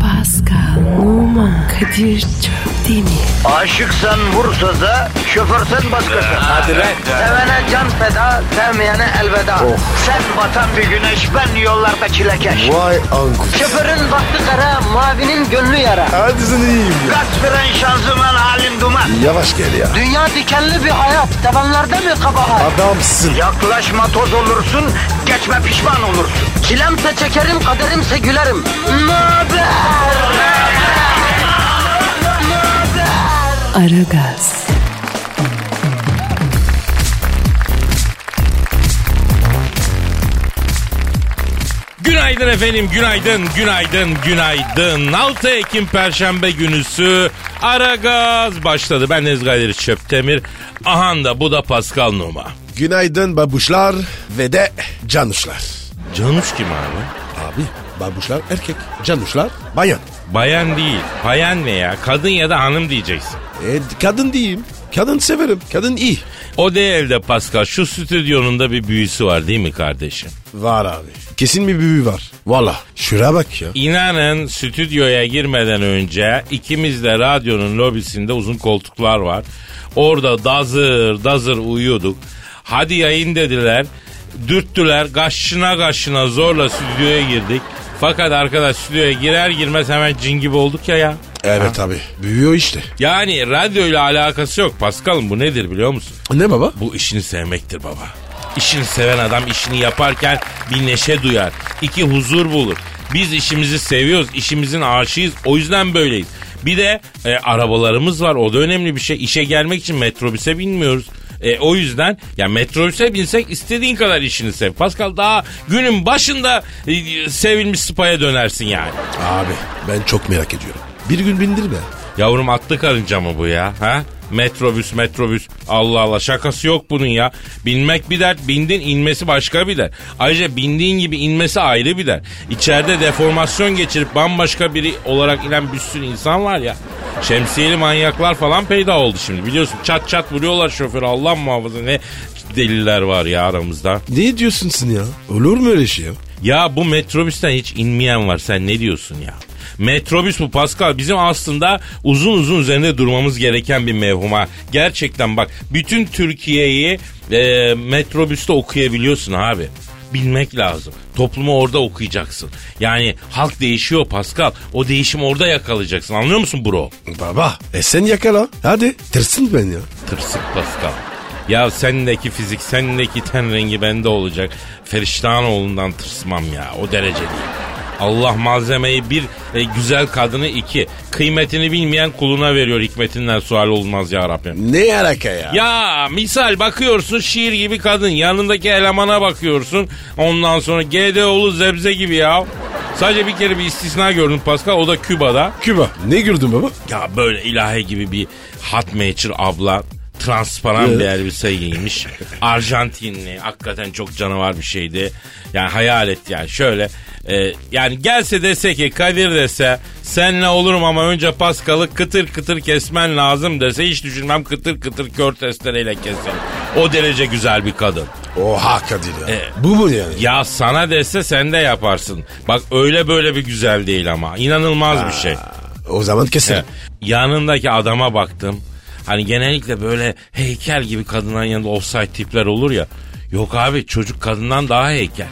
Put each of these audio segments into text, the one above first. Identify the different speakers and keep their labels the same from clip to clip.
Speaker 1: Pascal, Oman, Kadir çok değil mi?
Speaker 2: Aşıksan vursa da şoförsen başkasın.
Speaker 3: Hadi lan. Oh.
Speaker 2: Sevene can feda, sevmeyene elveda. Sen batan bir güneş, ben yollarda çilekeş.
Speaker 4: Vay anku.
Speaker 2: Şoförün baktı kara, mavinin gönlü yara.
Speaker 4: Hadi sen iyiyim ya.
Speaker 2: Kasperen şanzıman halin duman.
Speaker 4: Yavaş gel ya.
Speaker 2: Dünya dikenli bir hayat, sevenlerde mi kabahar?
Speaker 4: Adamsın.
Speaker 2: Yaklaşma toz olursun, geçme pişman olursun. Çilemse çekerim, kaderimse gülerim. Möber!
Speaker 1: Aragaz,
Speaker 3: Günaydın efendim, günaydın, günaydın, günaydın. 6 Ekim Perşembe günüsü Ara Gaz başladı. Ben Deniz Kadir Çöptemir. Ahan da bu da Pascal Numa.
Speaker 4: Günaydın babuşlar ve de canuşlar.
Speaker 3: Canuş kim abi?
Speaker 4: Abi babuşlar erkek, canuşlar bayan.
Speaker 3: Bayan değil. Bayan ne ya? Kadın ya da hanım diyeceksin.
Speaker 4: E, kadın diyeyim. Kadın severim. Kadın iyi.
Speaker 3: O değil de Pascal. Şu stüdyonun da bir büyüsü var değil mi kardeşim?
Speaker 4: Var abi. Kesin bir büyü var. Valla. Şuraya bak ya.
Speaker 3: İnanın stüdyoya girmeden önce ikimiz de radyonun lobisinde uzun koltuklar var. Orada dazır dazır uyuyorduk. Hadi yayın dediler. Dürttüler kaşına kaşına zorla stüdyoya girdik. Fakat arkadaş stüdyoya girer girmez hemen cin gibi olduk ya ya.
Speaker 4: Evet abi. Büyüyor işte.
Speaker 3: Yani radyoyla alakası yok Paskal'ım bu nedir biliyor musun?
Speaker 4: Ne baba?
Speaker 3: Bu işini sevmektir baba. İşini seven adam işini yaparken bir neşe duyar. iki huzur bulur. Biz işimizi seviyoruz. işimizin aşığıyız. O yüzden böyleyiz. Bir de e, arabalarımız var. O da önemli bir şey. İşe gelmek için metrobüse binmiyoruz. E, o yüzden ya metrobüse binsek istediğin kadar işini sev. Pascal daha günün başında e, sevilmiş spaya dönersin yani.
Speaker 4: Abi ben çok merak ediyorum. Bir gün bindir be.
Speaker 3: Yavrum atlı karınca mı bu ya? Ha? Metrobüs metrobüs Allah Allah şakası yok bunun ya. Binmek bir dert bindin inmesi başka bir dert. Ayrıca bindiğin gibi inmesi ayrı bir dert. İçeride deformasyon geçirip bambaşka biri olarak inen bir sürü insan var ya. Şemsiyeli manyaklar falan peyda oldu şimdi biliyorsun. Çat çat vuruyorlar şoförü Allah muhafaza ne deliller var ya aramızda.
Speaker 4: Ne diyorsun sen ya? Olur mu öyle şey ya?
Speaker 3: Ya bu metrobüsten hiç inmeyen var sen ne diyorsun ya? Metrobüs bu Pascal bizim aslında uzun uzun üzerinde durmamız gereken bir mevhuma. Gerçekten bak bütün Türkiye'yi e, metrobüste okuyabiliyorsun abi. Bilmek lazım. Toplumu orada okuyacaksın. Yani halk değişiyor Pascal. O değişimi orada yakalayacaksın. Anlıyor musun bro?
Speaker 4: Baba. E sen yakala. Hadi. Tırsın ben ya.
Speaker 3: Tırsık Pascal. Ya sendeki fizik, sendeki ten rengi bende olacak. Feriştahanoğlu'ndan tırsmam ya. O derece değil. Allah malzemeyi bir, e, güzel kadını iki. Kıymetini bilmeyen kuluna veriyor hikmetinden sual olmaz ya Rabbim.
Speaker 4: Ne alaka ya?
Speaker 3: Ya misal bakıyorsun şiir gibi kadın. Yanındaki elemana bakıyorsun. Ondan sonra GDO'lu zebze gibi ya. Sadece bir kere bir istisna gördüm Pascal. O da Küba'da.
Speaker 4: Küba. Ne gördün baba?
Speaker 3: Ya böyle ilahi gibi bir hot mature abla transparan bir elbise giymiş. Arjantinli. Hakikaten çok canavar bir şeydi. Yani hayal et yani şöyle. e, yani gelse dese ki Kadir dese senle olurum ama önce Paskal'ı kıtır kıtır kesmen lazım dese hiç düşünmem kıtır kıtır kör testereyle keserim. O derece güzel bir kadın.
Speaker 4: Oha Kadir ya.
Speaker 3: E.
Speaker 4: Bu mu yani?
Speaker 3: Ya sana dese sen de yaparsın. Bak öyle böyle bir güzel değil ama. inanılmaz bir şey.
Speaker 4: O zaman keserim.
Speaker 3: Yanındaki adama baktım. Hani genellikle böyle heykel gibi kadından yanında offside tipler olur ya. Yok abi çocuk kadından daha heykel.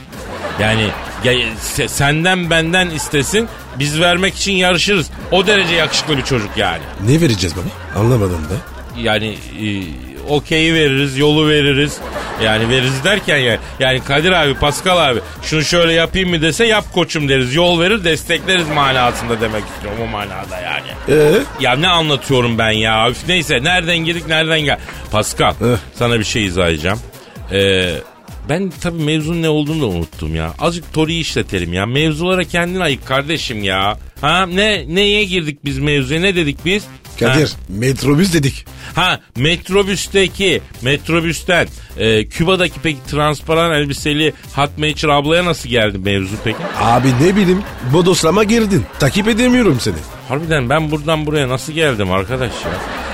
Speaker 3: Yani ya- se- senden benden istesin biz vermek için yarışırız. O derece yakışıklı bir çocuk yani.
Speaker 4: Ne vereceğiz baba? Anlamadım da.
Speaker 3: Yani e, okeyi veririz, yolu veririz. Yani veririz derken yani. Yani Kadir abi, Pascal abi şunu şöyle yapayım mı dese yap koçum deriz. Yol verir destekleriz manasında demek istiyorum o manada yani.
Speaker 4: Ee?
Speaker 3: Ya ne anlatıyorum ben ya? Üf, neyse nereden girdik nereden gel. Pascal
Speaker 4: Heh.
Speaker 3: sana bir şey izah edeceğim. Ee, ben tabii mevzunun ne olduğunu da unuttum ya. Azıcık Tori'yi işletelim ya. Mevzulara kendin ayık kardeşim ya. Ha ne neye girdik biz mevzuya ne dedik biz?
Speaker 4: Kadir
Speaker 3: Ha,
Speaker 4: metrobüs dedik.
Speaker 3: ha, metrobüsteki metrobüsten e, Küba'daki peki transparan elbiseli Hot Matcher ablaya nasıl geldi mevzu peki?
Speaker 4: Abi ne bileyim bodoslama girdin. Takip edemiyorum seni.
Speaker 3: Harbiden ben buradan buraya nasıl geldim arkadaş ya?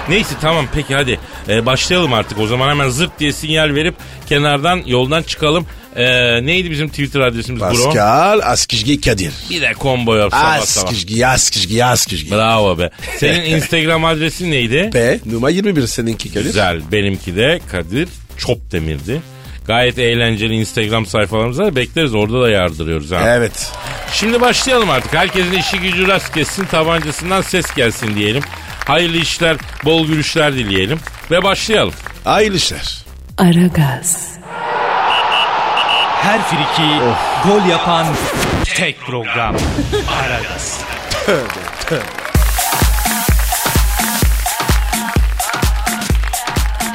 Speaker 3: Neyse tamam peki hadi Ee, başlayalım artık o zaman hemen zırt diye sinyal verip kenardan yoldan çıkalım. Ee, Ee, neydi bizim Twitter adresimiz bro?
Speaker 4: Pascal Askizgi Kadir.
Speaker 3: Bir de combo yap sabah sabah.
Speaker 4: Askizgi, Askizgi, Askizgi.
Speaker 3: Bravo be. Senin Instagram adresin neydi?
Speaker 4: P numara 21 seninki Kadir.
Speaker 3: Güzel. Benimki de Kadir Çopdemir'di. Gayet eğlenceli Instagram sayfalarımıza da bekleriz. Orada da yardırıyoruz ha.
Speaker 4: Evet.
Speaker 3: Şimdi başlayalım artık. Herkesin işi gücü rast gelsin, tabancasından ses gelsin diyelim. Hayırlı işler, bol gülüşler dileyelim. Ve başlayalım.
Speaker 4: Hayırlı işler.
Speaker 1: Aragaz,
Speaker 5: Her friki gol yapan tek program. Aragaz.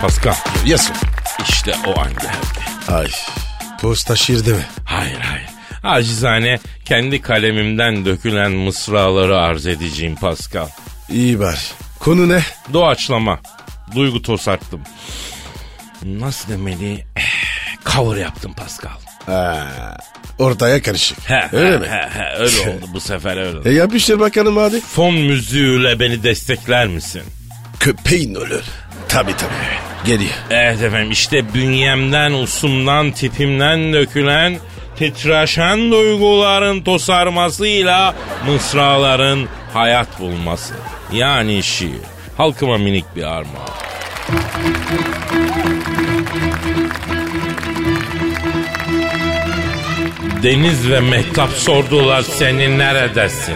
Speaker 3: Pascal.
Speaker 4: Yasın.
Speaker 3: İşte o an geldi.
Speaker 4: Ay. Posta şiir değil mi?
Speaker 3: Hayır hayır. Acizane kendi kalemimden dökülen mısraları arz edeceğim Pascal.
Speaker 4: İyi bari. Konu ne?
Speaker 3: Doğaçlama. Duygu tosarttım. Nasıl demeli? Eh, Cover yaptım Pascal.
Speaker 4: Ha, ortaya karışık.
Speaker 3: He,
Speaker 4: Öyle
Speaker 3: he,
Speaker 4: mi?
Speaker 3: he, he, öyle oldu bu sefer öyle oldu.
Speaker 4: E yapıştır bakalım hadi.
Speaker 3: Fon müziğiyle beni destekler misin?
Speaker 4: Köpeğin ölür. Tabi tabi. Geliyor.
Speaker 3: Evet efendim işte bünyemden, usumdan, tipimden dökülen titreşen duyguların tosarmasıyla mısraların hayat bulması. Yani şiir. Halkıma minik bir armağan. Deniz ve Mehtap sordular seni neredesin?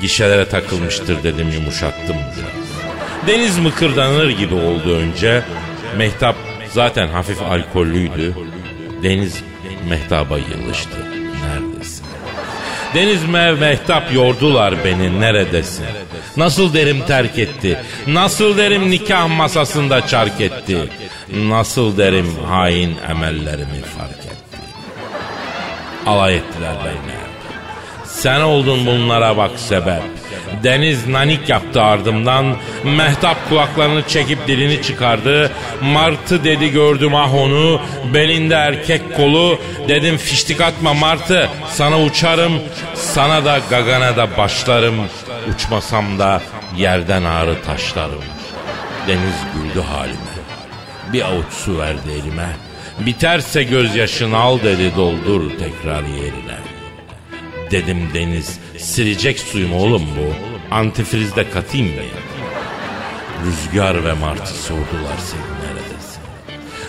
Speaker 3: Gişelere takılmıştır dedim yumuşattım biraz. Deniz mıkırdanır gibi oldu önce. Mehtap zaten hafif alkollüydü. Deniz Mehtap'a yılıştı. Neredesin? Deniz mev mehtap yordular beni neredesin? Nasıl derim terk etti? Nasıl derim nikah masasında çark etti? Nasıl derim hain emellerimi fark etti? Alay ettiler benimle. Sen oldun bunlara bak sebep. Deniz nanik yaptı ardımdan. Mehtap kulaklarını çekip dilini çıkardı. Martı dedi gördüm ah onu. Belinde erkek kolu. Dedim fiştik atma Martı. Sana uçarım. Sana da gagana da başlarım. Uçmasam da yerden ağrı taşlarım. Deniz güldü halime. Bir avuç su verdi elime. Biterse gözyaşını al dedi doldur tekrar yerine. Dedim Deniz silecek suyum oğlum bu. Antifrizde katayım mı? Rüzgar ve Martı sordular seni neredesin?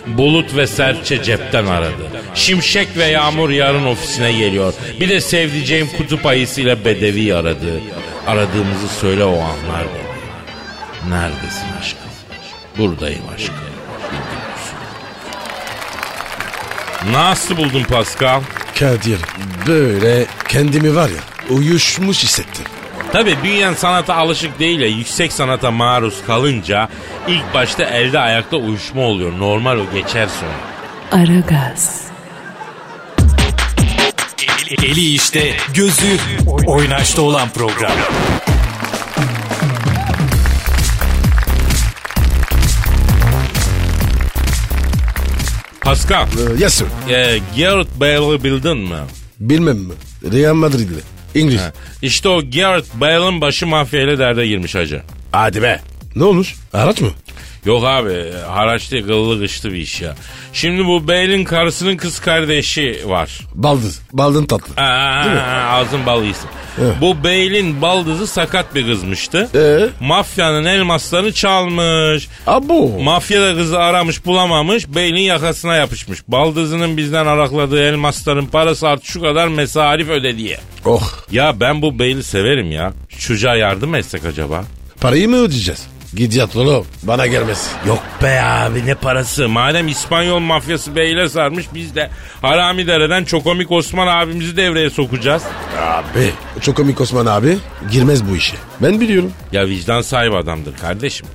Speaker 3: Bulut ve serçe cepten aradı. Şimşek ve yağmur yarın ofisine geliyor. Bir de sevdiceğim kutup ayısıyla bedevi aradı. Aradığımızı söyle o anlar dedi. Neredesin aşkım? Buradayım aşkım. Bildim kusura. Nasıl buldun Pascal?
Speaker 4: Kadir böyle kendimi var ya uyuşmuş hissettim.
Speaker 3: Tabii büyüyen sanata alışık değil ya yüksek sanata maruz kalınca ilk başta elde ayakta uyuşma oluyor. Normal o geçer sonra.
Speaker 1: Aragaz,
Speaker 5: Eli işte, gözü oynaşta olan program.
Speaker 3: Pascal,
Speaker 4: Ee, Yasın.
Speaker 3: e, Gareth Bale'ı bildin mi?
Speaker 4: Bilmem mi? Real Madrid'li. İngiliz.
Speaker 3: İşte o Gareth Bale'ın başı mafyayla derde girmiş hacı.
Speaker 4: Hadi be. Ne olmuş? Araç mı?
Speaker 3: Yok abi e, haraç değil kıllı kışlı bir iş ya. Şimdi bu Bale'in karısının kız kardeşi var.
Speaker 4: Baldız. Baldın tatlı.
Speaker 3: Aa, ağzın bal iyisin. Bu Bale'in baldızı sakat bir kızmıştı.
Speaker 4: Ee?
Speaker 3: Mafyanın elmaslarını çalmış.
Speaker 4: Abo.
Speaker 3: Mafya da kızı aramış bulamamış Bey'in yakasına yapışmış. Baldızının bizden arakladığı elmasların parası artı şu kadar mesarif öde diye.
Speaker 4: oh.
Speaker 3: Ya ben bu Bey'i severim ya. Şu Çocuğa yardım mı etsek acaba?
Speaker 4: Parayı mı ödeyeceğiz? Gidiyat oğlum. Bana gelmez.
Speaker 3: Yok be abi ne parası. Madem İspanyol mafyası Bey'le sarmış biz de Harami Dere'den Çokomik Osman abimizi devreye sokacağız.
Speaker 4: Abi. Çok komik Osman abi. Girmez bu işe. Ben biliyorum.
Speaker 3: Ya vicdan sahibi adamdır kardeşim.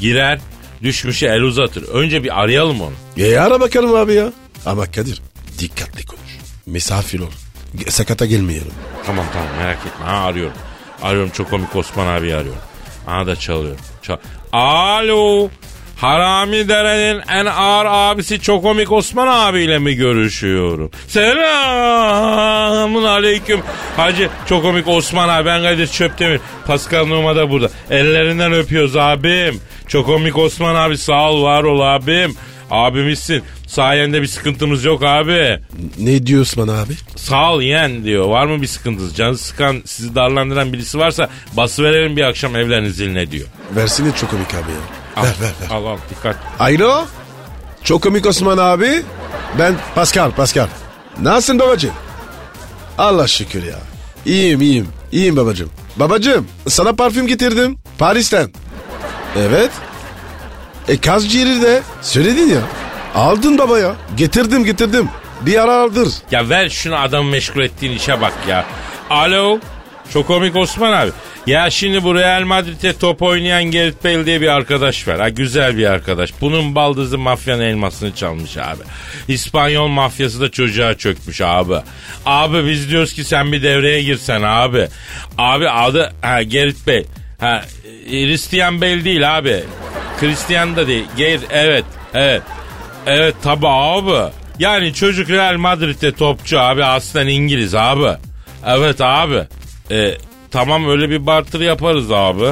Speaker 3: Girer düşmüşe el uzatır. Önce bir arayalım onu.
Speaker 4: E ara bakalım abi ya. Ama Kadir dikkatli konuş. Misafir ol. Ge- Sakata gelmeyelim.
Speaker 3: Tamam tamam merak etme. Ha arıyorum. Arıyorum çok komik Osman abi arıyorum. Aha da çalıyor. Çal Alo. Harami Dere'nin en ağır abisi Çokomik Osman abiyle mi görüşüyorum? Selamun aleyküm. Hacı Çokomik Osman abi ben Kadir Çöptemir. Pascal Numa da burada. Ellerinden öpüyoruz abim. Çokomik Osman abi sağ ol var ol abim. Abimizsin. Sayende bir sıkıntımız yok abi.
Speaker 4: Ne diyor Osman abi?
Speaker 3: Sağ ol yeğen diyor. Var mı bir sıkıntınız? Canı sıkan, sizi darlandıran birisi varsa basıverelim bir akşam evlerinin ziline diyor.
Speaker 4: Versene çok komik abi ya.
Speaker 3: Al,
Speaker 4: Ver ver ver.
Speaker 3: Al al dikkat.
Speaker 4: Alo. Çok komik Osman abi. Ben Pascal Pascal. Nasılsın babacığım? Allah şükür ya. İyiyim iyiyim. İyiyim babacığım. Babacığım sana parfüm getirdim. Paris'ten. Evet. E kaz ciğeri de söyledin ya. Aldın baba ya. Getirdim getirdim. Bir ara aldır.
Speaker 3: Ya ver şunu adamı meşgul ettiğin işe bak ya. Alo. Çok komik Osman abi. Ya şimdi bu Real Madrid'e top oynayan Gerrit Bale diye bir arkadaş var. Ha güzel bir arkadaş. Bunun baldızı mafyanın elmasını çalmış abi. İspanyol mafyası da çocuğa çökmüş abi. Abi biz diyoruz ki sen bir devreye girsen abi. Abi adı ha, Gerrit Bale. Ha, Hristiyan Bale değil abi. Hristiyan da değil. Ger evet evet. Evet tabi abi. Yani çocuk Real Madrid'de topçu abi aslen İngiliz abi. Evet abi. E, tamam öyle bir barter yaparız abi.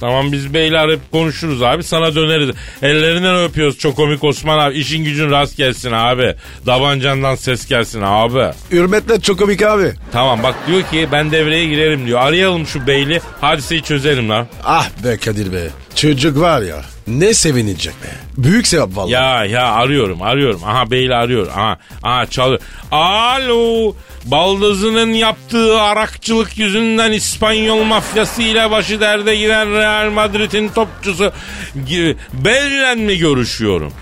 Speaker 3: Tamam biz beyler hep konuşuruz abi sana döneriz. Ellerinden öpüyoruz çok komik Osman abi. İşin gücün rast gelsin abi. Davancandan ses gelsin abi.
Speaker 4: Hürmetle çok komik abi.
Speaker 3: Tamam bak diyor ki ben devreye girerim diyor. Arayalım şu beyli hadiseyi çözelim lan.
Speaker 4: Ah be Kadir be. Çocuk var ya. Ne sevinecek be. Büyük sevap vallahi.
Speaker 3: Ya ya arıyorum arıyorum. Aha beyli arıyor. Aha, aha çalıyor. Alo. Baldızının yaptığı arakçılık yüzünden İspanyol mafyası ile başı derde giren Real Madrid'in topçusu G- Bey'le mi görüşüyorum?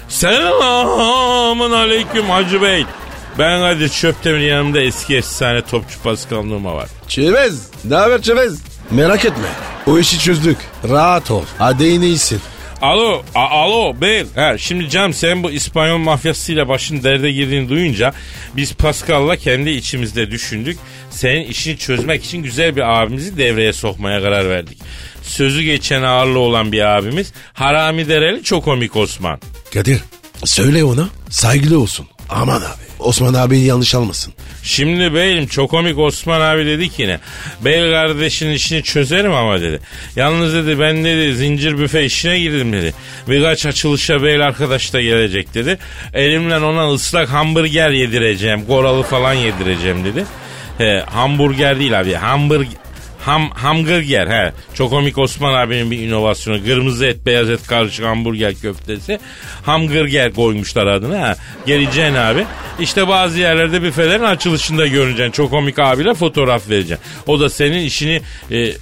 Speaker 3: Selamun aleyküm Hacı Bey. Ben Kadir Çöptemir yanımda eski efsane topçu Pascal Numa var.
Speaker 4: Çevez. Ne haber Çevez? Merak etme. O işi çözdük. Rahat ol. Hadi yine iyisin.
Speaker 3: Alo, a- alo Bel. Ha, şimdi Cem sen bu İspanyol mafyasıyla başın derde girdiğini duyunca biz Pascal'la kendi içimizde düşündük. Senin işini çözmek için güzel bir abimizi devreye sokmaya karar verdik. Sözü geçen ağırlı olan bir abimiz Harami Dereli çok komik Osman.
Speaker 4: Kadir söyle ona saygılı olsun. Aman abi. Osman abi yanlış almasın.
Speaker 3: Şimdi beyim çok komik Osman abi dedi ki ne? Bey kardeşin işini çözerim ama dedi. Yalnız dedi ben dedi zincir büfe işine girdim dedi. Birkaç açılışa bey arkadaş da gelecek dedi. Elimle ona ıslak hamburger yedireceğim. Goralı falan yedireceğim dedi. He, hamburger değil abi. Hamburger Ham, hamburger he. Çok komik Osman abinin bir inovasyonu. Kırmızı et, beyaz et karışık hamburger köftesi. Hamburger koymuşlar adını ha. Geleceksin abi. İşte bazı yerlerde büfelerin açılışında görüneceksin. Çok komik abiyle fotoğraf vereceksin. O da senin işini... e,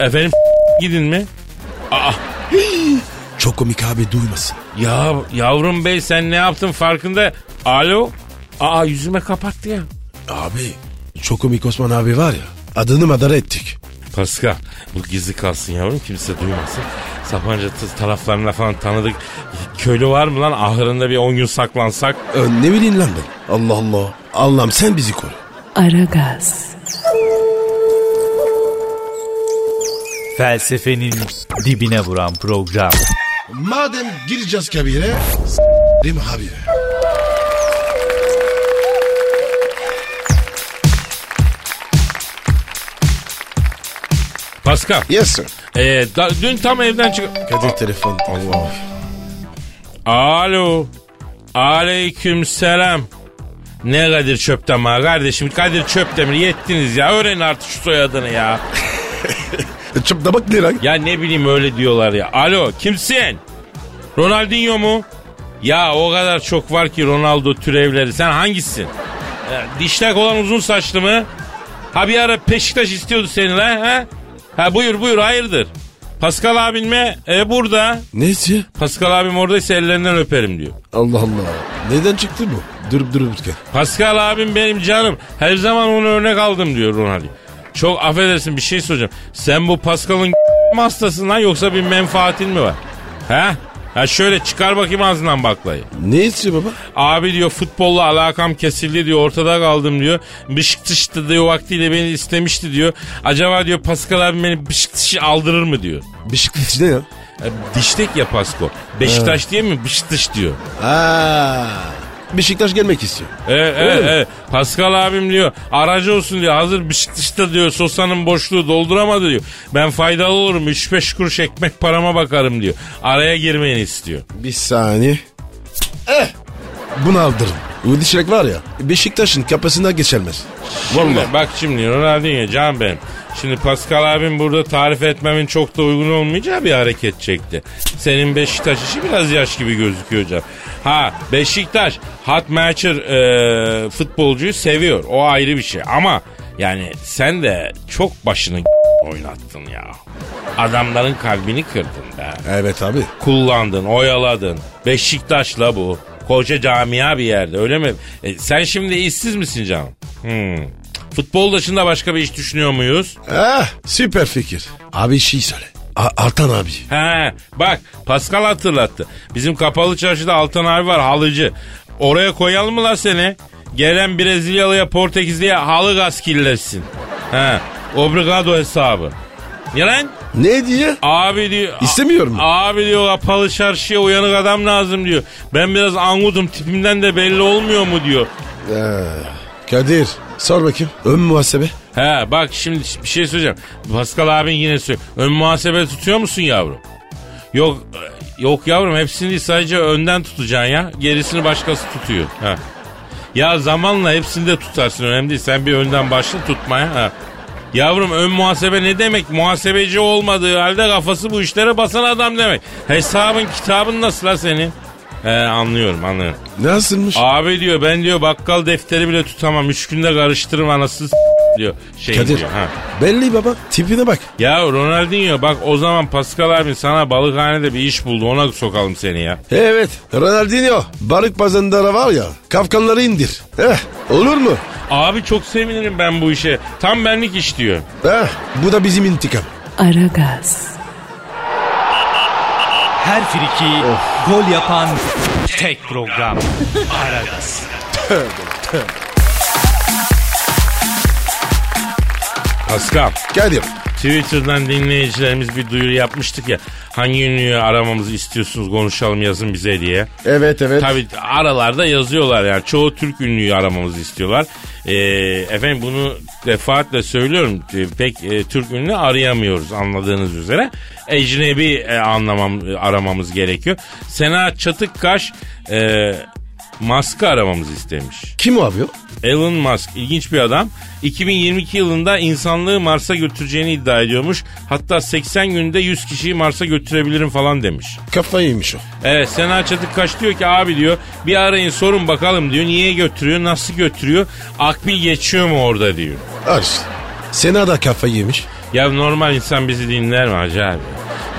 Speaker 3: efendim gidin mi? Aa,
Speaker 4: Çok komik abi duymasın.
Speaker 3: ya yavrum bey sen ne yaptın farkında? Alo? Aa yüzüme kapattı ya.
Speaker 4: Abi çok komik Osman abi var ya. Adını madara ettik.
Speaker 3: Pascal bu gizli kalsın yavrum kimse duymasın. Sapanca t- taraflarına falan tanıdık köylü var mı lan ahırında bir 10 gün saklansak?
Speaker 4: Ö, Ee, ne bileyim lan ben. Allah Allah. Allah'ım sen bizi koru.
Speaker 1: Aragaz,
Speaker 5: Felsefenin dibine vuran program.
Speaker 4: Madem gireceğiz kabire. Rim abi.
Speaker 3: Pascal
Speaker 4: Yes sir.
Speaker 3: ee, da- dün tam evden çık...
Speaker 4: Kadir telefon. Allah.
Speaker 3: Alo. Aleyküm selam. Ne Kadir Çöptemir kardeşim Kadir Çöptemir yettiniz ya öğren artık şu soyadını ya.
Speaker 4: Çıp E, da bak ne lan?
Speaker 3: Ya ne bileyim öyle diyorlar ya. Alo kimsin? Ronaldinho mu? Ya o kadar çok var ki Ronaldo türevleri. Sen hangisin? E, dişlek olan uzun saçlı mı? Ha bir ara Peşiktaş istiyordu seni la ha? Ha buyur buyur hayırdır? Pascal abin mi? E burada.
Speaker 4: Neyse.
Speaker 3: Pascal abim oradaysa ellerinden öperim diyor.
Speaker 4: Allah Allah. Neden çıktı bu? Durup durup dururken.
Speaker 3: Pascal abim benim canım. Her zaman onu örnek aldım diyor Ronaldo. Çok affedersin bir şey soracağım. Sen bu Pascal'ın mı hastasın lan yoksa bir menfaatin mi var? He? Ha şöyle çıkar bakayım ağzından baklayı.
Speaker 4: Ne istiyor baba?
Speaker 3: Abi diyor futbolla alakam kesildi diyor ortada kaldım diyor. Bışıktıştı diyor vaktiyle beni istemişti diyor. Acaba diyor Pascal abi beni bışıktışı aldırır mı diyor.
Speaker 4: Beşiktaş ne ya?
Speaker 3: E, diştek ya Pasko. Beşiktaş diye mi bışıktış diyor.
Speaker 4: Aa, Beşiktaş gelmek istiyor.
Speaker 3: E, e, e. Pascal abim diyor aracı olsun diyor hazır Beşiktaş'ta diyor sosanın boşluğu dolduramadı diyor. Ben faydalı olurum 3-5 kuruş ekmek parama bakarım diyor. Araya girmeyin istiyor.
Speaker 4: Bir saniye. Eh. Bunu aldırın. Udi Şirek var ya Beşiktaş'ın kapısına geçilmez.
Speaker 3: Şimdi bak şimdi Ronaldinho can benim. Şimdi Pascal abim burada tarif etmemin çok da uygun olmayacağı bir hareket çekti. Senin Beşiktaş işi biraz yaş gibi gözüküyor hocam. Ha Beşiktaş Hot Matcher e, futbolcuyu seviyor. O ayrı bir şey ama yani sen de çok başını oynattın ya. Adamların kalbini kırdın be.
Speaker 4: Evet abi.
Speaker 3: Kullandın, oyaladın. Beşiktaş'la bu. Koca camia bir yerde öyle mi? E, sen şimdi işsiz misin canım? Hmm. Futbol dışında başka bir iş düşünüyor muyuz?
Speaker 4: Eh, süper fikir. Abi şey söyle. A- Altan abi.
Speaker 3: He bak Pascal hatırlattı. Bizim kapalı çarşıda Altan abi var halıcı. Oraya koyalım mı la seni? Gelen Brezilyalıya Portekizli'ye halı gaz kirletsin. He obrigado hesabı. Ne lan?
Speaker 4: Ne diye?
Speaker 3: Abi diyor.
Speaker 4: İstemiyorum.
Speaker 3: Abi diyor kapalı çarşıya uyanık adam lazım diyor. Ben biraz angudum tipimden de belli olmuyor mu diyor.
Speaker 4: Kadir sor bakayım. Ön muhasebe.
Speaker 3: He bak şimdi bir şey söyleyeceğim. Pascal abin yine söylüyor. Ön muhasebe tutuyor musun yavrum? Yok e, yok yavrum hepsini değil, sadece önden tutacaksın ya. Gerisini başkası tutuyor. Ha. Ya zamanla hepsini de tutarsın önemli değil. Sen bir önden başla tutmaya. Ha. Yavrum ön muhasebe ne demek? Muhasebeci olmadığı halde kafası bu işlere basan adam demek. Hesabın kitabın nasıl la senin? He anlıyorum anlıyorum.
Speaker 4: Nasılmış?
Speaker 3: Abi diyor ben diyor bakkal defteri bile tutamam. Üç günde karıştırırım anasını s- diyor. Şey
Speaker 4: Kadir.
Speaker 3: diyor. Ha.
Speaker 4: Belli baba. Tipine bak.
Speaker 3: Ya Ronaldinho bak o zaman Pascal abi sana balıkhanede bir iş buldu ona sokalım seni ya.
Speaker 4: Evet. Ronaldinho. Balık pazarında var ya. Kafkanları indir. Eh, olur mu?
Speaker 3: Abi çok sevinirim ben bu işe. Tam benlik iş diyor.
Speaker 4: Eh, bu da bizim intikam.
Speaker 1: Aragaz,
Speaker 5: Her friki gol yapan tek program. Aragaz.
Speaker 3: Pascal
Speaker 4: Kadir.
Speaker 3: Twitter'dan dinleyicilerimiz bir duyuru yapmıştık ya. Hangi ünlüyü aramamızı istiyorsunuz konuşalım yazın bize diye.
Speaker 4: Evet evet.
Speaker 3: Tabii aralarda yazıyorlar yani. Çoğu Türk ünlüyü aramamızı istiyorlar. Ee, efendim bunu defaatle söylüyorum. Ee, Pek e, Türk ünlü arayamıyoruz anladığınız üzere. Ecnebi e, anlamam, e, aramamız gerekiyor. Sena Çatıkkaş e, Musk'ı aramamızı istemiş.
Speaker 4: Kim o abi o?
Speaker 3: Elon Musk ilginç bir adam. 2022 yılında insanlığı Mars'a götüreceğini iddia ediyormuş. Hatta 80 günde 100 kişiyi Mars'a götürebilirim falan demiş.
Speaker 4: Kafayı yemiş o.
Speaker 3: Evet Sena Çatıkkaş diyor ki abi diyor bir arayın sorun bakalım diyor. Niye götürüyor nasıl götürüyor akbil geçiyor mu orada diyor.
Speaker 4: Al işte. Sena da kafayı yemiş.
Speaker 3: Ya normal insan bizi dinler mi Hacı abi?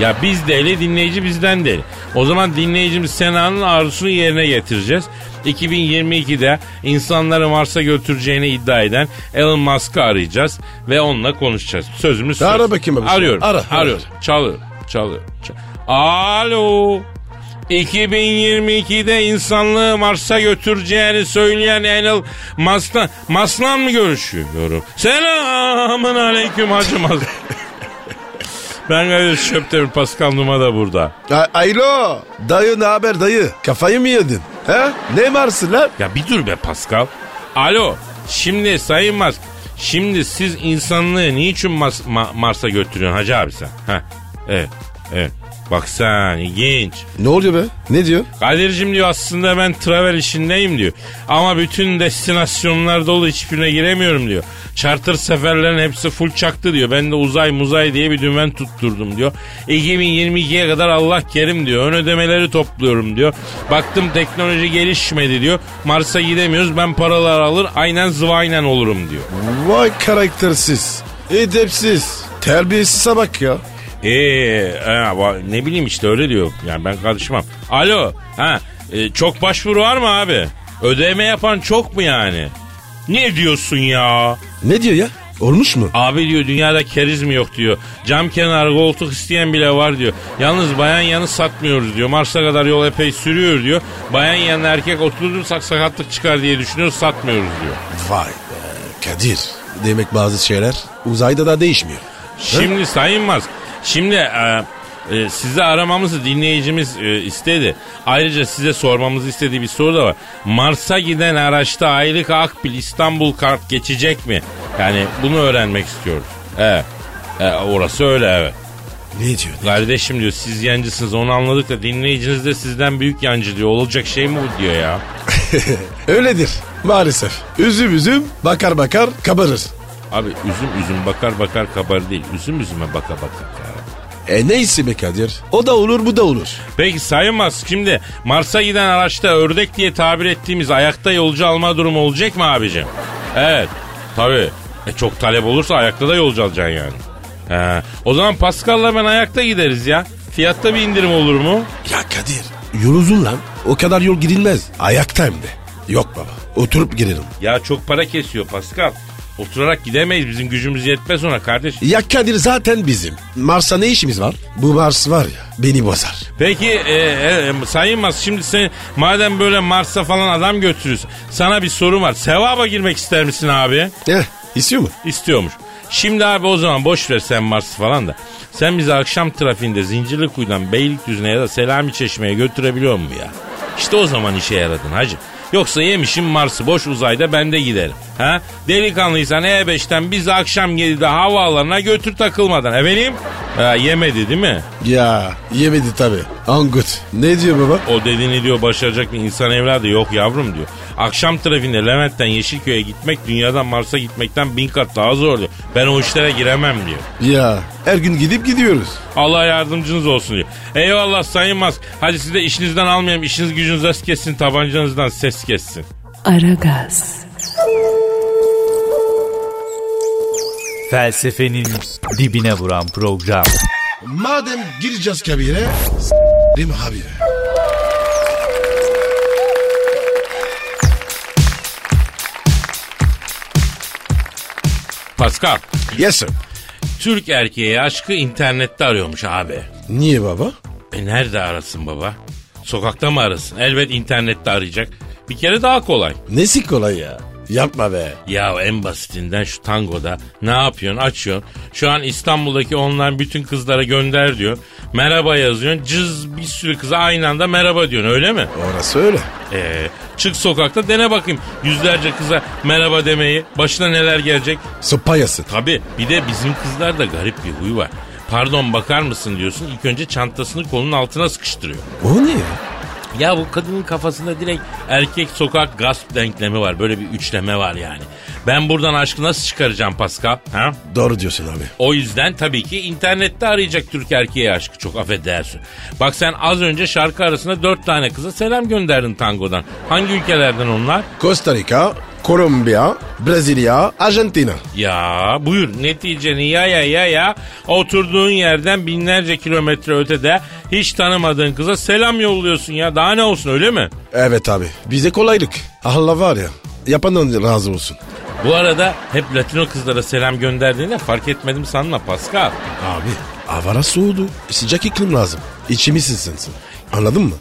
Speaker 3: Ya biz deli dinleyici bizden deli. O zaman dinleyicimiz Sena'nın arzusunu yerine getireceğiz. 2022'de insanları Mars'a götüreceğini iddia eden Elon Musk'ı arayacağız ve onunla konuşacağız. Sözümüz söz.
Speaker 4: Ara bakayım abi.
Speaker 3: Arıyorum.
Speaker 4: Ara,
Speaker 3: Ara,
Speaker 4: ara.
Speaker 3: arıyorum. Çalıyor. Çalıyor. çal- Alo. 2022'de insanlığı Mars'a götüreceğini söyleyen Elon Musk'la, Musk'la mı görüşüyorum? Selamın aleyküm hacı Musk. ben Kadir Şöptemir Pascal Numa da burada.
Speaker 4: A- Aylo. Dayı ne haber dayı? Kafayı mı yedin? He? Ne marsın lan?
Speaker 3: Ya bir dur be Pascal. Alo. Şimdi Sayın Musk. Şimdi siz insanlığı niçin Mas- Ma- Mars'a götürüyorsun hacı abi sen? Ha. Evet. Evet. Bak sen ilginç.
Speaker 4: Ne oluyor be? Ne diyor?
Speaker 3: Kadir'cim diyor aslında ben travel işindeyim diyor. Ama bütün destinasyonlar dolu hiçbirine giremiyorum diyor. Charter seferlerin hepsi full çaktı diyor. Ben de uzay muzay diye bir dümen tutturdum diyor. 2022'ye kadar Allah kerim diyor. Ön ödemeleri topluyorum diyor. Baktım teknoloji gelişmedi diyor. Mars'a gidemiyoruz ben paralar alır aynen zıvaynen olurum diyor.
Speaker 4: Vay karaktersiz. Edepsiz. Terbiyesize bak ya.
Speaker 3: Eee Ee, e, ne bileyim işte öyle diyor. Yani ben karışmam. Alo ha e, çok başvuru var mı abi? Ödeme yapan çok mu yani? Ne diyorsun ya?
Speaker 4: Ne diyor ya? Olmuş mu?
Speaker 3: Abi diyor dünyada keriz mi yok diyor. Cam kenarı koltuk isteyen bile var diyor. Yalnız bayan yanı satmıyoruz diyor. Mars'a kadar yol epey sürüyor diyor. Bayan yanına erkek oturursak sakatlık çıkar diye düşünüyoruz satmıyoruz diyor.
Speaker 4: Vay be Kadir. Demek bazı şeyler uzayda da değişmiyor.
Speaker 3: Şimdi Sayın Musk, şimdi e, e, sizi aramamızı dinleyicimiz e, istedi. Ayrıca size sormamızı istediği bir soru da var. Mars'a giden araçta aylık akbil İstanbul kart geçecek mi? Yani bunu öğrenmek istiyoruz. Evet. E, orası öyle evet.
Speaker 4: Ne diyor?
Speaker 3: Kardeşim diyor siz yancısınız onu anladık da dinleyiciniz de sizden büyük yancı diyor. Olacak şey mi bu diyor ya.
Speaker 4: Öyledir maalesef. Üzüm üzüm bakar bakar kabarır.
Speaker 3: Abi üzüm üzüm bakar bakar kabar değil. Üzüm üzüme baka baka karar.
Speaker 4: E neyse be Kadir. O da olur bu da olur.
Speaker 3: Peki sayılmaz şimdi Mars'a giden araçta ördek diye tabir ettiğimiz ayakta yolcu alma durumu olacak mı abicim? Evet tabii. E çok talep olursa ayakta da yolcu alacaksın yani. He, o zaman Pascal'la ben ayakta gideriz ya. Fiyatta bir indirim olur mu?
Speaker 4: Ya Kadir yol uzun lan. O kadar yol girilmez. Ayakta hem de. Yok baba oturup girerim.
Speaker 3: Ya çok para kesiyor Pascal. Oturarak gidemeyiz bizim gücümüz yetmez ona kardeş.
Speaker 4: Ya Kadir zaten bizim. Mars'a ne işimiz var? Bu Mars var ya beni bozar.
Speaker 3: Peki e, e, Sayın Mas şimdi sen madem böyle Mars'a falan adam götürüyorsun. Sana bir sorum var. Sevaba girmek ister misin abi?
Speaker 4: Eh istiyor mu?
Speaker 3: İstiyormuş. Şimdi abi o zaman boş ver sen Mars falan da. Sen bizi akşam trafiğinde Zincirlikuyu'dan Beylikdüzü'ne ya da Selami Çeşme'ye götürebiliyor mu ya? İşte o zaman işe yaradın hacı. Yoksa yemişim Mars'ı boş uzayda ben de giderim. Ha? Delikanlıysan E5'ten bizi akşam 7'de havaalanına götür takılmadan. Efendim? Ha, yemedi değil mi?
Speaker 4: Ya yemedi tabi. Angut. Ne diyor baba?
Speaker 3: O dediğini diyor başaracak bir insan evladı yok yavrum diyor. Akşam trafiğinde Levent'ten Yeşilköy'e gitmek dünyadan Mars'a gitmekten bin kat daha zor diyor. Ben o işlere giremem diyor.
Speaker 4: Ya her gün gidip gidiyoruz.
Speaker 3: Allah yardımcınız olsun diyor. Eyvallah Sayın Musk. Hadi siz de işinizden almayayım. İşiniz gücünüz ses kessin. Tabancanızdan ses kessin.
Speaker 1: Aragaz,
Speaker 5: Felsefenin dibine vuran program.
Speaker 4: Madem gireceğiz kabire s**rim habire.
Speaker 3: Pascal.
Speaker 4: Yes sir.
Speaker 3: Türk erkeği aşkı internette arıyormuş abi.
Speaker 4: Niye baba?
Speaker 3: E nerede arasın baba? Sokakta mı arasın? Elbet internette arayacak. Bir kere daha kolay.
Speaker 4: Nesi kolay ya? Yapma be.
Speaker 3: Ya en basitinden şu tangoda ne yapıyorsun açıyorsun. Şu an İstanbul'daki online bütün kızlara gönder diyor. Merhaba yazıyorsun. Cız bir sürü kıza aynı anda merhaba diyorsun öyle mi?
Speaker 4: Orası öyle.
Speaker 3: Ee, çık sokakta dene bakayım. Yüzlerce kıza merhaba demeyi. Başına neler gelecek?
Speaker 4: Sopayası.
Speaker 3: Tabi bir de bizim kızlarda garip bir huy var. Pardon bakar mısın diyorsun. İlk önce çantasını kolunun altına sıkıştırıyor.
Speaker 4: O ne ya?
Speaker 3: Ya bu kadının kafasında direkt erkek sokak gasp denklemi var. Böyle bir üçleme var yani. Ben buradan aşkı nasıl çıkaracağım Pascal? Ha?
Speaker 4: Doğru diyorsun abi.
Speaker 3: O yüzden tabii ki internette arayacak Türk erkeği aşkı çok affedersin. Bak sen az önce şarkı arasında dört tane kıza selam gönderdin tangodan. Hangi ülkelerden onlar?
Speaker 4: Costa Rica, Kolombiya, Brezilya, Arjantina.
Speaker 3: Ya buyur neticeni ya ya ya ya oturduğun yerden binlerce kilometre ötede hiç tanımadığın kıza selam yolluyorsun ya daha ne olsun öyle mi?
Speaker 4: Evet abi. Bize kolaylık. Allah var ya. Yapandan razı olsun.
Speaker 3: Bu arada hep Latino kızlara selam gönderdiğinde fark etmedim sanma Pascal.
Speaker 4: Abi. Havara soğudu. Sıcak iklim lazım. İçimi sinsin. Anladın mı?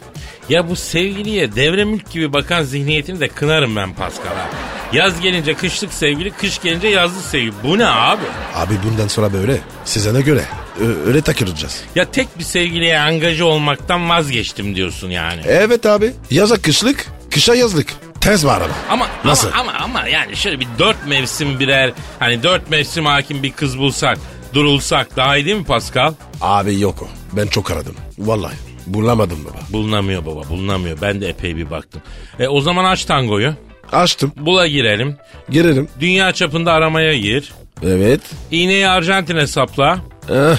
Speaker 3: Ya bu sevgiliye devre mülk gibi bakan zihniyetini de kınarım ben Pascal'a. Yaz gelince kışlık sevgili, kış gelince yazlık sevgili. Bu ne abi?
Speaker 4: Abi bundan sonra böyle. Sizene göre. Ö- öyle takılacağız.
Speaker 3: Ya tek bir sevgiliye angaje olmaktan vazgeçtim diyorsun yani.
Speaker 4: Evet abi. Yaza kışlık, kışa yazlık. Tez var araba.
Speaker 3: Ama
Speaker 4: Nasıl?
Speaker 3: Ama, ama ama yani şöyle bir dört mevsim birer hani dört mevsim hakim bir kız bulsak durulsak daha iyi değil mi Pascal?
Speaker 4: Abi yok o. Ben çok aradım. Vallahi. Bulamadım baba.
Speaker 3: Bulunamıyor baba bulunamıyor ben de epey bir baktım. E o zaman aç tangoyu.
Speaker 4: Açtım.
Speaker 3: Bula girelim.
Speaker 4: Girelim.
Speaker 3: Dünya çapında aramaya gir.
Speaker 4: Evet.
Speaker 3: İğneyi Arjantin'e sapla. Ha,
Speaker 4: Eh,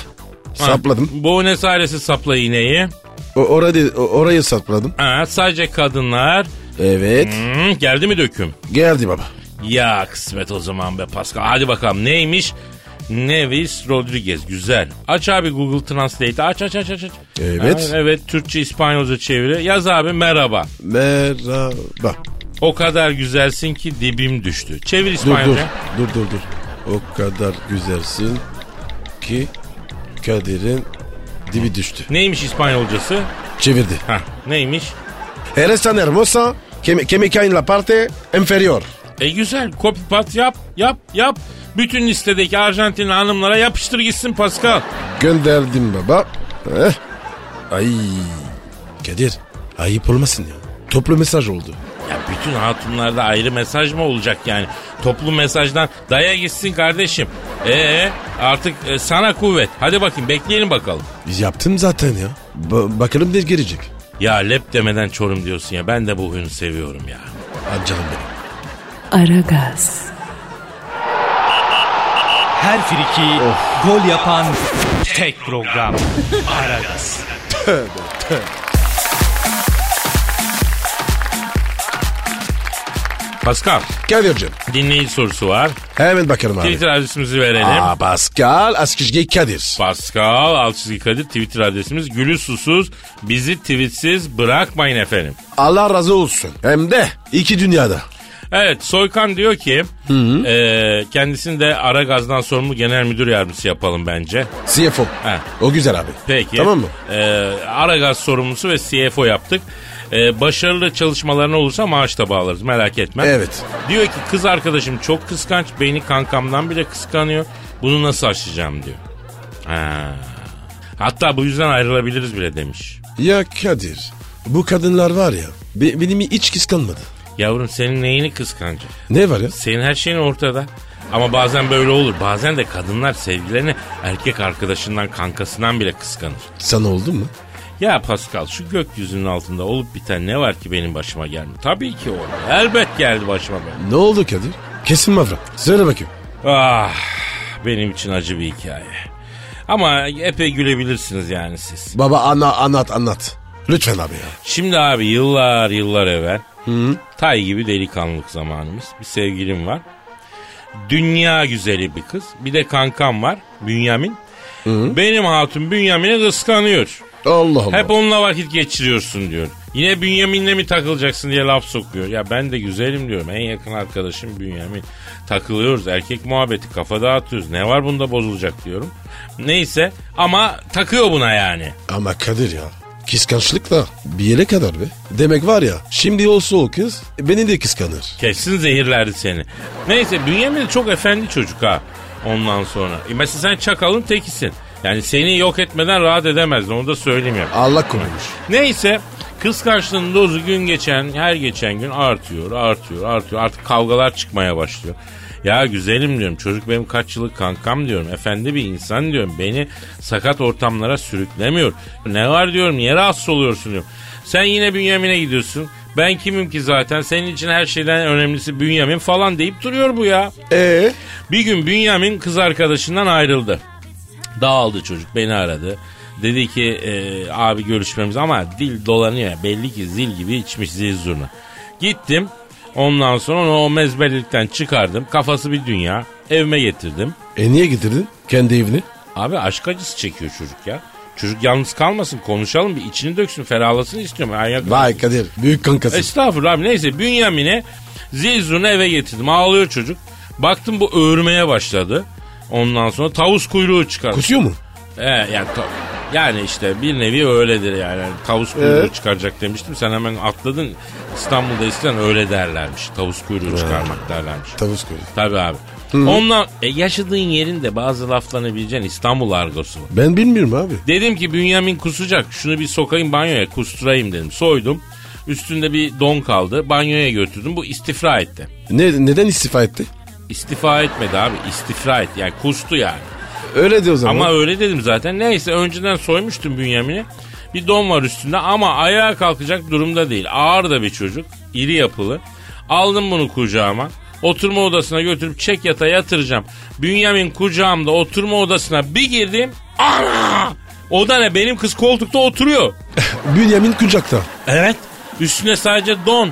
Speaker 4: sapladım.
Speaker 3: Buenos Aires'e sapla iğneyi.
Speaker 4: O, orayı, o- orayı sapladım.
Speaker 3: Ha, sadece kadınlar.
Speaker 4: Evet.
Speaker 3: Hmm, geldi mi döküm?
Speaker 4: Geldi baba.
Speaker 3: Ya kısmet o zaman be Pascal. Hadi bakalım neymiş? Nevis Rodriguez güzel. Aç abi Google Translate'i aç aç aç aç. aç.
Speaker 4: Evet.
Speaker 3: Ha, evet Türkçe İspanyolca çeviri. Yaz abi merhaba.
Speaker 4: Merhaba.
Speaker 3: O kadar güzelsin ki dibim düştü. Çevir
Speaker 4: Dur dur.
Speaker 3: İspanyolca.
Speaker 4: Dur dur dur. O kadar güzelsin ki Kadir'in dibi düştü.
Speaker 3: Neymiş İspanyolcası?
Speaker 4: Çevirdi.
Speaker 3: Hah neymiş?
Speaker 4: Eres tan hermosa que, que me cae en la parte inferior.
Speaker 3: E güzel copy pat yap yap yap. Bütün listedeki Arjantin hanımlara yapıştır gitsin Pascal.
Speaker 4: Gönderdim baba. Eh. Ay. Kadir ayıp olmasın ya. Toplu mesaj oldu.
Speaker 3: Ya bütün hatunlarda ayrı mesaj mı olacak yani? Toplu mesajdan daya gitsin kardeşim. Ee artık e, sana kuvvet. Hadi bakayım bekleyelim bakalım.
Speaker 4: Biz yaptım zaten ya. Ba- bakalım ne gelecek.
Speaker 3: Ya lep demeden çorum diyorsun ya ben de bu huyunu seviyorum ya.
Speaker 4: Hadi canım benim.
Speaker 1: Aragaz,
Speaker 5: Her friki gol yapan tek program. Aragaz.
Speaker 3: Pascal
Speaker 4: Kadir'cim
Speaker 3: dinleyici sorusu var.
Speaker 4: hemen bakalım abi.
Speaker 3: Twitter adresimizi verelim.
Speaker 4: Aa, Pascal Askışge Kadir.
Speaker 3: Pascal Alçızgi Kadir Twitter adresimiz. Gülü susuz bizi tweetsiz bırakmayın efendim.
Speaker 4: Allah razı olsun. Hem de iki dünyada.
Speaker 3: Evet Soykan diyor ki e, kendisini de Ara Gaz'dan sorumlu genel müdür yardımcısı yapalım bence.
Speaker 4: CFO.
Speaker 3: Ha.
Speaker 4: O güzel abi.
Speaker 3: Peki.
Speaker 4: Tamam mı?
Speaker 3: E, Ara Gaz sorumlusu ve CFO yaptık. E, başarılı çalışmalarına olursa maaş da bağlarız merak etme.
Speaker 4: Evet.
Speaker 3: Diyor ki kız arkadaşım çok kıskanç beni kankamdan bile kıskanıyor. Bunu nasıl aşacağım diyor. Ha. Hatta bu yüzden ayrılabiliriz bile demiş.
Speaker 4: Ya Kadir bu kadınlar var ya be- benim hiç kıskanmadı.
Speaker 3: Yavrum senin neyini kıskancı?
Speaker 4: Ne var ya?
Speaker 3: Senin her şeyin ortada. Ama bazen böyle olur. Bazen de kadınlar sevgilerini erkek arkadaşından, kankasından bile kıskanır.
Speaker 4: Sana oldu mu?
Speaker 3: Ya Pascal şu gökyüzünün altında olup biten ne var ki benim başıma geldi? Tabii ki oldu. Elbet geldi başıma benim.
Speaker 4: Ne oldu Kadir? Kesin mavra. Söyle bakayım.
Speaker 3: Ah benim için acı bir hikaye. Ama epey gülebilirsiniz yani siz.
Speaker 4: Baba ana anlat anlat. Lütfen abi ya.
Speaker 3: Şimdi abi yıllar yıllar evvel tay gibi delikanlılık zamanımız. Bir sevgilim var. Dünya güzeli bir kız. Bir de kankam var. Bünyamin. Benim hatun Bünyamin'i kıskanıyor.
Speaker 4: Allah Allah.
Speaker 3: Hep onunla vakit geçiriyorsun diyor. Yine Bünyamin'le mi takılacaksın diye laf sokuyor. Ya ben de güzelim diyorum. En yakın arkadaşım Bünyamin. Takılıyoruz. Erkek muhabbeti kafa dağıtıyoruz. Ne var bunda bozulacak diyorum. Neyse ama takıyor buna yani.
Speaker 4: Ama Kadir ya. Kıskançlık da bir yere kadar be. Demek var ya şimdi olsa o kız beni de kıskanır.
Speaker 3: Kesin zehirlerdi seni. Neyse Bünyamin de çok efendi çocuk ha ondan sonra. E mesela sen çakalın tekisin. Yani seni yok etmeden rahat edemezdin onu da söyleyeyim ya.
Speaker 4: Allah korumuş.
Speaker 3: Neyse kıskançlığın dozu gün geçen her geçen gün artıyor artıyor artıyor. Artık kavgalar çıkmaya başlıyor. Ya güzelim diyorum çocuk benim kaç yıllık kankam diyorum. Efendi bir insan diyorum. Beni sakat ortamlara sürüklemiyor. Ne var diyorum niye rahatsız oluyorsun diyorum. Sen yine Bünyamin'e gidiyorsun. Ben kimim ki zaten senin için her şeyden önemlisi Bünyamin falan deyip duruyor bu ya.
Speaker 4: Ee?
Speaker 3: Bir gün Bünyamin kız arkadaşından ayrıldı. Dağıldı çocuk beni aradı. Dedi ki e, abi görüşmemiz ama dil dolanıyor ya belli ki zil gibi içmiş zil zurna. Gittim ondan sonra onu o mezbellikten çıkardım. Kafası bir dünya evime getirdim.
Speaker 4: E niye getirdin kendi evini?
Speaker 3: Abi aşk acısı çekiyor çocuk ya. Çocuk yalnız kalmasın konuşalım bir içini döksün ferahlasın istiyorum. Ayak
Speaker 4: Vay Kadir büyük kankası.
Speaker 3: Estağfurullah abi neyse Bünyamin'e Zilzur'unu eve getirdim. Ağlıyor çocuk. Baktım bu öğürmeye başladı. Ondan sonra tavus kuyruğu çıkardı.
Speaker 4: Kusuyor mu?
Speaker 3: Ee, yani, ta- yani işte bir nevi öyledir yani. Yani Tavus kuyruğu
Speaker 4: Evet.
Speaker 3: çıkaracak demiştim. Sen hemen atladın. İstanbul'da eskiden öyle derlermiş. Tavus kuyruğu çıkarmak derlermiş.
Speaker 4: Tavus koydu.
Speaker 3: Tabii abi. Ondan e, yaşadığın yerin de bazı laflarını bileceksin İstanbul argosu var.
Speaker 4: Ben bilmiyorum abi.
Speaker 3: Dedim ki Bünyamin kusacak. Şunu bir sokayım banyoya kusturayım dedim. Soydum. Üstünde bir don kaldı. Banyoya götürdüm. Bu istifra etti.
Speaker 4: Ne, neden istifa etti?
Speaker 3: İstifa etmedi abi. istifra etti. Yani kustu yani.
Speaker 4: Öyle de o zaman.
Speaker 3: Ama öyle dedim zaten. Neyse önceden soymuştum Bünyamin'i. Bir don var üstünde ama ayağa kalkacak durumda değil. Ağır da bir çocuk. iri yapılı. Aldım bunu kucağıma. Oturma odasına götürüp çek yata yatıracağım. Bünyamin kucağımda oturma odasına bir girdim. Ana! O da ne? Benim kız koltukta oturuyor.
Speaker 4: Bünyamin kucakta.
Speaker 3: Evet. Üstüne sadece don.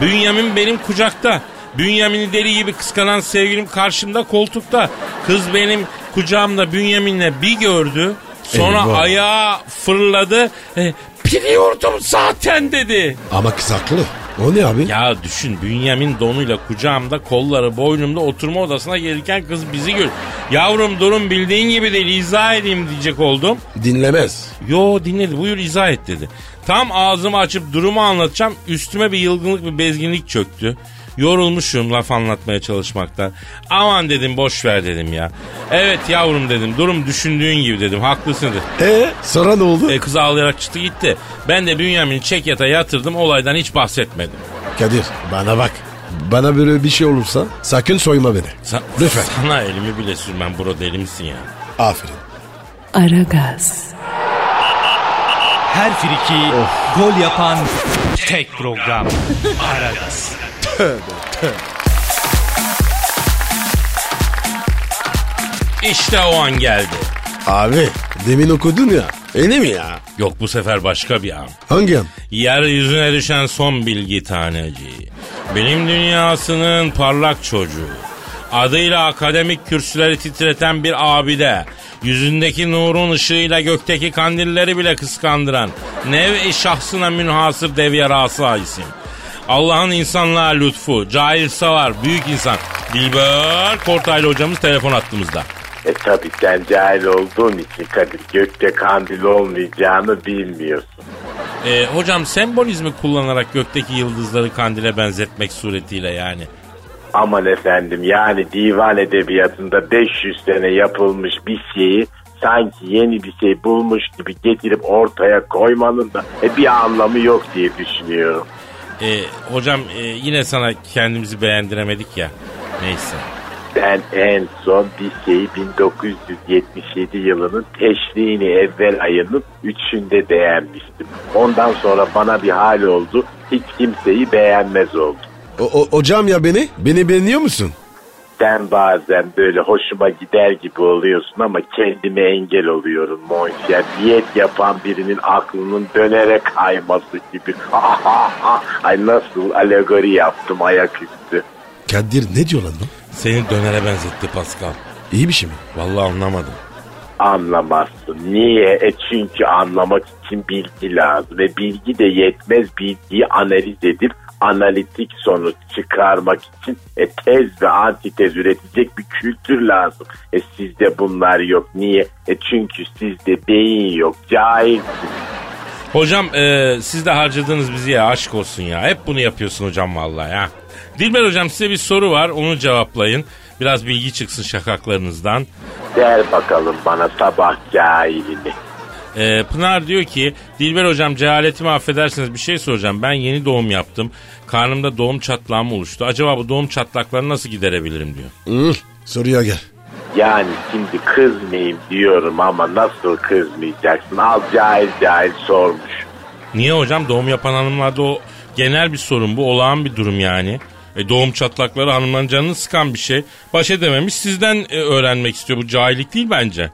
Speaker 3: Bünyamin benim kucakta. Bünyamin'i deli gibi kıskanan sevgilim karşımda koltukta. Kız benim kucağımda Bünyamin'le bir gördü. Sonra
Speaker 4: Eyvah.
Speaker 3: ayağa fırladı. E, biliyordum zaten dedi.
Speaker 4: Ama kız haklı. O ne abi?
Speaker 3: Ya düşün Bünyamin donuyla kucağımda kolları boynumda oturma odasına gelirken kız bizi gör. Yavrum durum bildiğin gibi değil izah edeyim diyecek oldum.
Speaker 4: Dinlemez.
Speaker 3: Yo dinledi buyur izah et dedi. Tam ağzımı açıp durumu anlatacağım üstüme bir yılgınlık bir bezginlik çöktü. Yorulmuşum laf anlatmaya çalışmaktan. Aman dedim boş ver dedim ya. Evet yavrum dedim durum düşündüğün gibi dedim haklısın dedim.
Speaker 4: E sonra ne oldu?
Speaker 3: E, kız ağlayarak çıktı gitti. Ben de Bünyamin'i çek yata yatırdım olaydan hiç bahsetmedim.
Speaker 4: Kadir bana bak. Bana böyle bir şey olursa sakın soyma beni.
Speaker 3: Sa-
Speaker 4: Lütfen.
Speaker 3: Sana elimi bile sürmem bro deli misin ya?
Speaker 4: Aferin.
Speaker 1: Aragaz,
Speaker 5: Her friki gol yapan tek program. Aragaz.
Speaker 3: İşte o an geldi.
Speaker 4: Abi demin okudun ya. Öyle mi ya?
Speaker 3: Yok bu sefer başka bir an.
Speaker 4: Hangi an?
Speaker 3: Yeryüzüne düşen son bilgi taneci. Bilim dünyasının parlak çocuğu. Adıyla akademik kürsüleri titreten bir abide. Yüzündeki nurun ışığıyla gökteki kandilleri bile kıskandıran nev-i şahsına münhasır dev yarası isim. Allah'ın insanlığa lütfu, cahil savar, büyük insan. Dilber Kortaylı hocamız telefon attığımızda.
Speaker 6: E tabi sen cahil olduğun için Kadir gökte kandil olmayacağını bilmiyorsun.
Speaker 3: Ee, hocam sembolizmi kullanarak gökteki yıldızları kandile benzetmek suretiyle yani.
Speaker 6: Aman efendim yani divan edebiyatında 500 sene yapılmış bir şeyi sanki yeni bir şey bulmuş gibi getirip ortaya koymanın da e, bir anlamı yok diye düşünüyorum.
Speaker 3: Ee, hocam e, yine sana kendimizi beğendiremedik ya. Neyse.
Speaker 6: Ben en son bir şeyi 1977 yılının teşriğini evvel ayının üçünde beğenmiştim. Ondan sonra bana bir hal oldu. Hiç kimseyi beğenmez oldum.
Speaker 4: O, o, hocam ya beni? Beni beğeniyor musun?
Speaker 6: Sen bazen böyle hoşuma gider gibi oluyorsun ama kendime engel oluyorum Monşer. Diyet yapan birinin aklının dönerek kayması gibi. Ay nasıl alegori yaptım ayaküstü.
Speaker 4: Kadir ne diyor lan bu?
Speaker 3: Seni dönere benzetti Pascal.
Speaker 4: İyi bir şey mi?
Speaker 3: Vallahi anlamadım.
Speaker 6: Anlamazsın. Niye? E çünkü anlamak için bilgi lazım. Ve bilgi de yetmez bilgiyi analiz edip analitik sonuç çıkarmak için e, tez ve antitez üretecek bir kültür lazım. E sizde bunlar yok. Niye? E çünkü sizde beyin yok. Cahilsiniz.
Speaker 3: Hocam e, siz de harcadınız bizi ya aşk olsun ya. Hep bunu yapıyorsun hocam vallahi ya. Dilber hocam size bir soru var onu cevaplayın. Biraz bilgi çıksın şakaklarınızdan.
Speaker 6: Der bakalım bana sabah cahilini.
Speaker 3: Ee, Pınar diyor ki Dilber hocam cehaletimi affedersiniz bir şey soracağım. Ben yeni doğum yaptım. Karnımda doğum çatlağım oluştu. Acaba bu doğum çatlaklarını nasıl giderebilirim diyor.
Speaker 4: Hı, soruya gel.
Speaker 6: Yani şimdi kızmayayım diyorum ama nasıl kızmayacaksın? Az cahil cahil sormuş.
Speaker 3: Niye hocam doğum yapan hanımlarda o genel bir sorun bu olağan bir durum yani. E, doğum çatlakları hanımların canını sıkan bir şey. Baş edememiş sizden e, öğrenmek istiyor. Bu cahillik değil bence.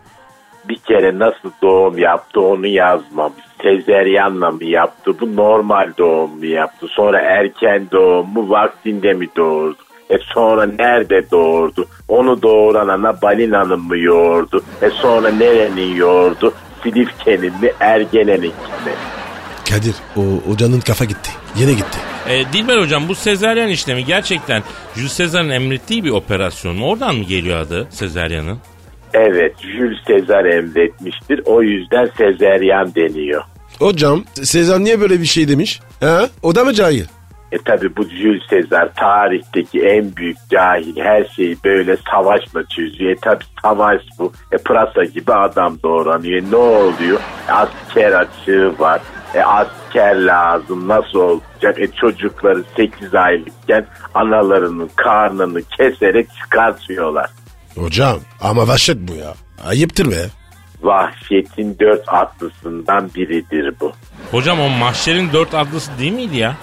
Speaker 6: Bir kere nasıl doğum yaptı onu yazmamış. Sezeryanla mı yaptı? Bu normal doğum mu yaptı? Sonra erken doğum mu? Vaktinde mi doğurdu? E sonra nerede doğurdu? Onu doğuran ana balinanın mı yoğurdu? E sonra nerenin yoğurdu? Silifke'nin mi? Ergene'nin mi?
Speaker 4: Kadir o hocanın kafa gitti. Yine gitti.
Speaker 3: E, Dilber hocam bu sezaryen işlemi gerçekten Jules Sezar'ın emrettiği bir operasyon. mu? Oradan mı geliyor adı sezaryanın?
Speaker 6: Evet, Jules Sezar emretmiştir. O yüzden sezeryan deniyor.
Speaker 4: Hocam Sezan niye böyle bir şey demiş? Ha? O da mı cahil?
Speaker 6: E tabi bu Jules Sezar tarihteki en büyük cahil. Her şeyi böyle savaşla çözüyor. E tabi savaş bu. E pırasa gibi adam doğranıyor. Ne oluyor? E asker açığı var. E asker lazım. Nasıl olacak? E çocukları 8 aylıkken analarının karnını keserek çıkartıyorlar.
Speaker 4: Hocam ama vahşet bu ya. Ayıptır be.
Speaker 6: Vahşetin dört atlısından biridir bu.
Speaker 3: Hocam o mahşerin dört adlısı değil miydi ya?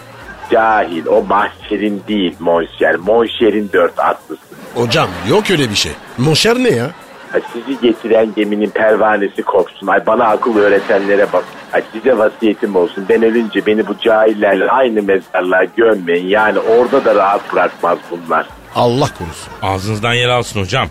Speaker 6: Cahil o mahşerin değil monşer. Monşerin dört atlısı.
Speaker 4: Hocam yok öyle bir şey. Monşer ne ya?
Speaker 6: Ay sizi getiren geminin pervanesi kopsun. Ay bana akıl öğretenlere bak. Ay size vasiyetim olsun. Ben ölünce beni bu cahillerle aynı mezarlığa gömmeyin. Yani orada da rahat bırakmaz bunlar.
Speaker 4: Allah korusun.
Speaker 3: Ağzınızdan yer alsın hocam.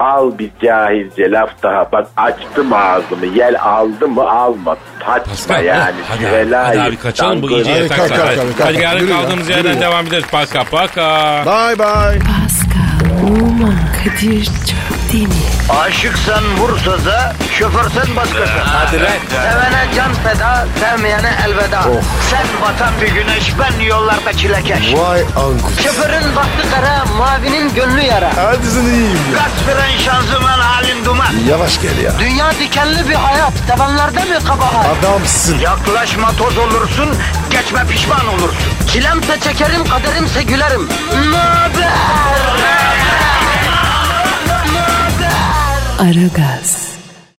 Speaker 6: Al bir cahilce laf daha. Bak açtım ağzımı. Yel aldı mı almadı. Taçma
Speaker 3: Pascal
Speaker 6: yani.
Speaker 3: hadi, abi, hadi abi kaçalım bu iyice
Speaker 4: Hadi
Speaker 3: yatak
Speaker 4: kalk,
Speaker 3: saat.
Speaker 4: kalk,
Speaker 3: Hadi,
Speaker 4: kalk, kalk.
Speaker 3: hadi yarın
Speaker 4: Yürü ya,
Speaker 3: kaldığımız
Speaker 4: yürü
Speaker 3: yerden
Speaker 4: ya.
Speaker 3: devam ederiz. Paka paka.
Speaker 4: Bye bye.
Speaker 1: Pascal, Oman, Kadir çok değil mi?
Speaker 2: Aşıksan vursa da, şoförsen başkasın. Hadi
Speaker 3: lan.
Speaker 2: Sevene can feda, sevmeyene elveda. Sen batan bir güneş, ben yollarda çilekeş.
Speaker 4: Vay anku.
Speaker 2: Şoförün baktı kara, mavinin gönlü yara.
Speaker 4: Hadi sen iyiyim ya.
Speaker 2: Kasperen şanzıman halin duman.
Speaker 4: Yavaş gel ya.
Speaker 2: Dünya dikenli bir hayat, sevenlerde mi kabahar?
Speaker 4: Adamsın.
Speaker 2: Yaklaşma toz olursun, geçme pişman olursun. Çilemse çekerim, kaderimse gülerim. Möber!
Speaker 1: Aragaz.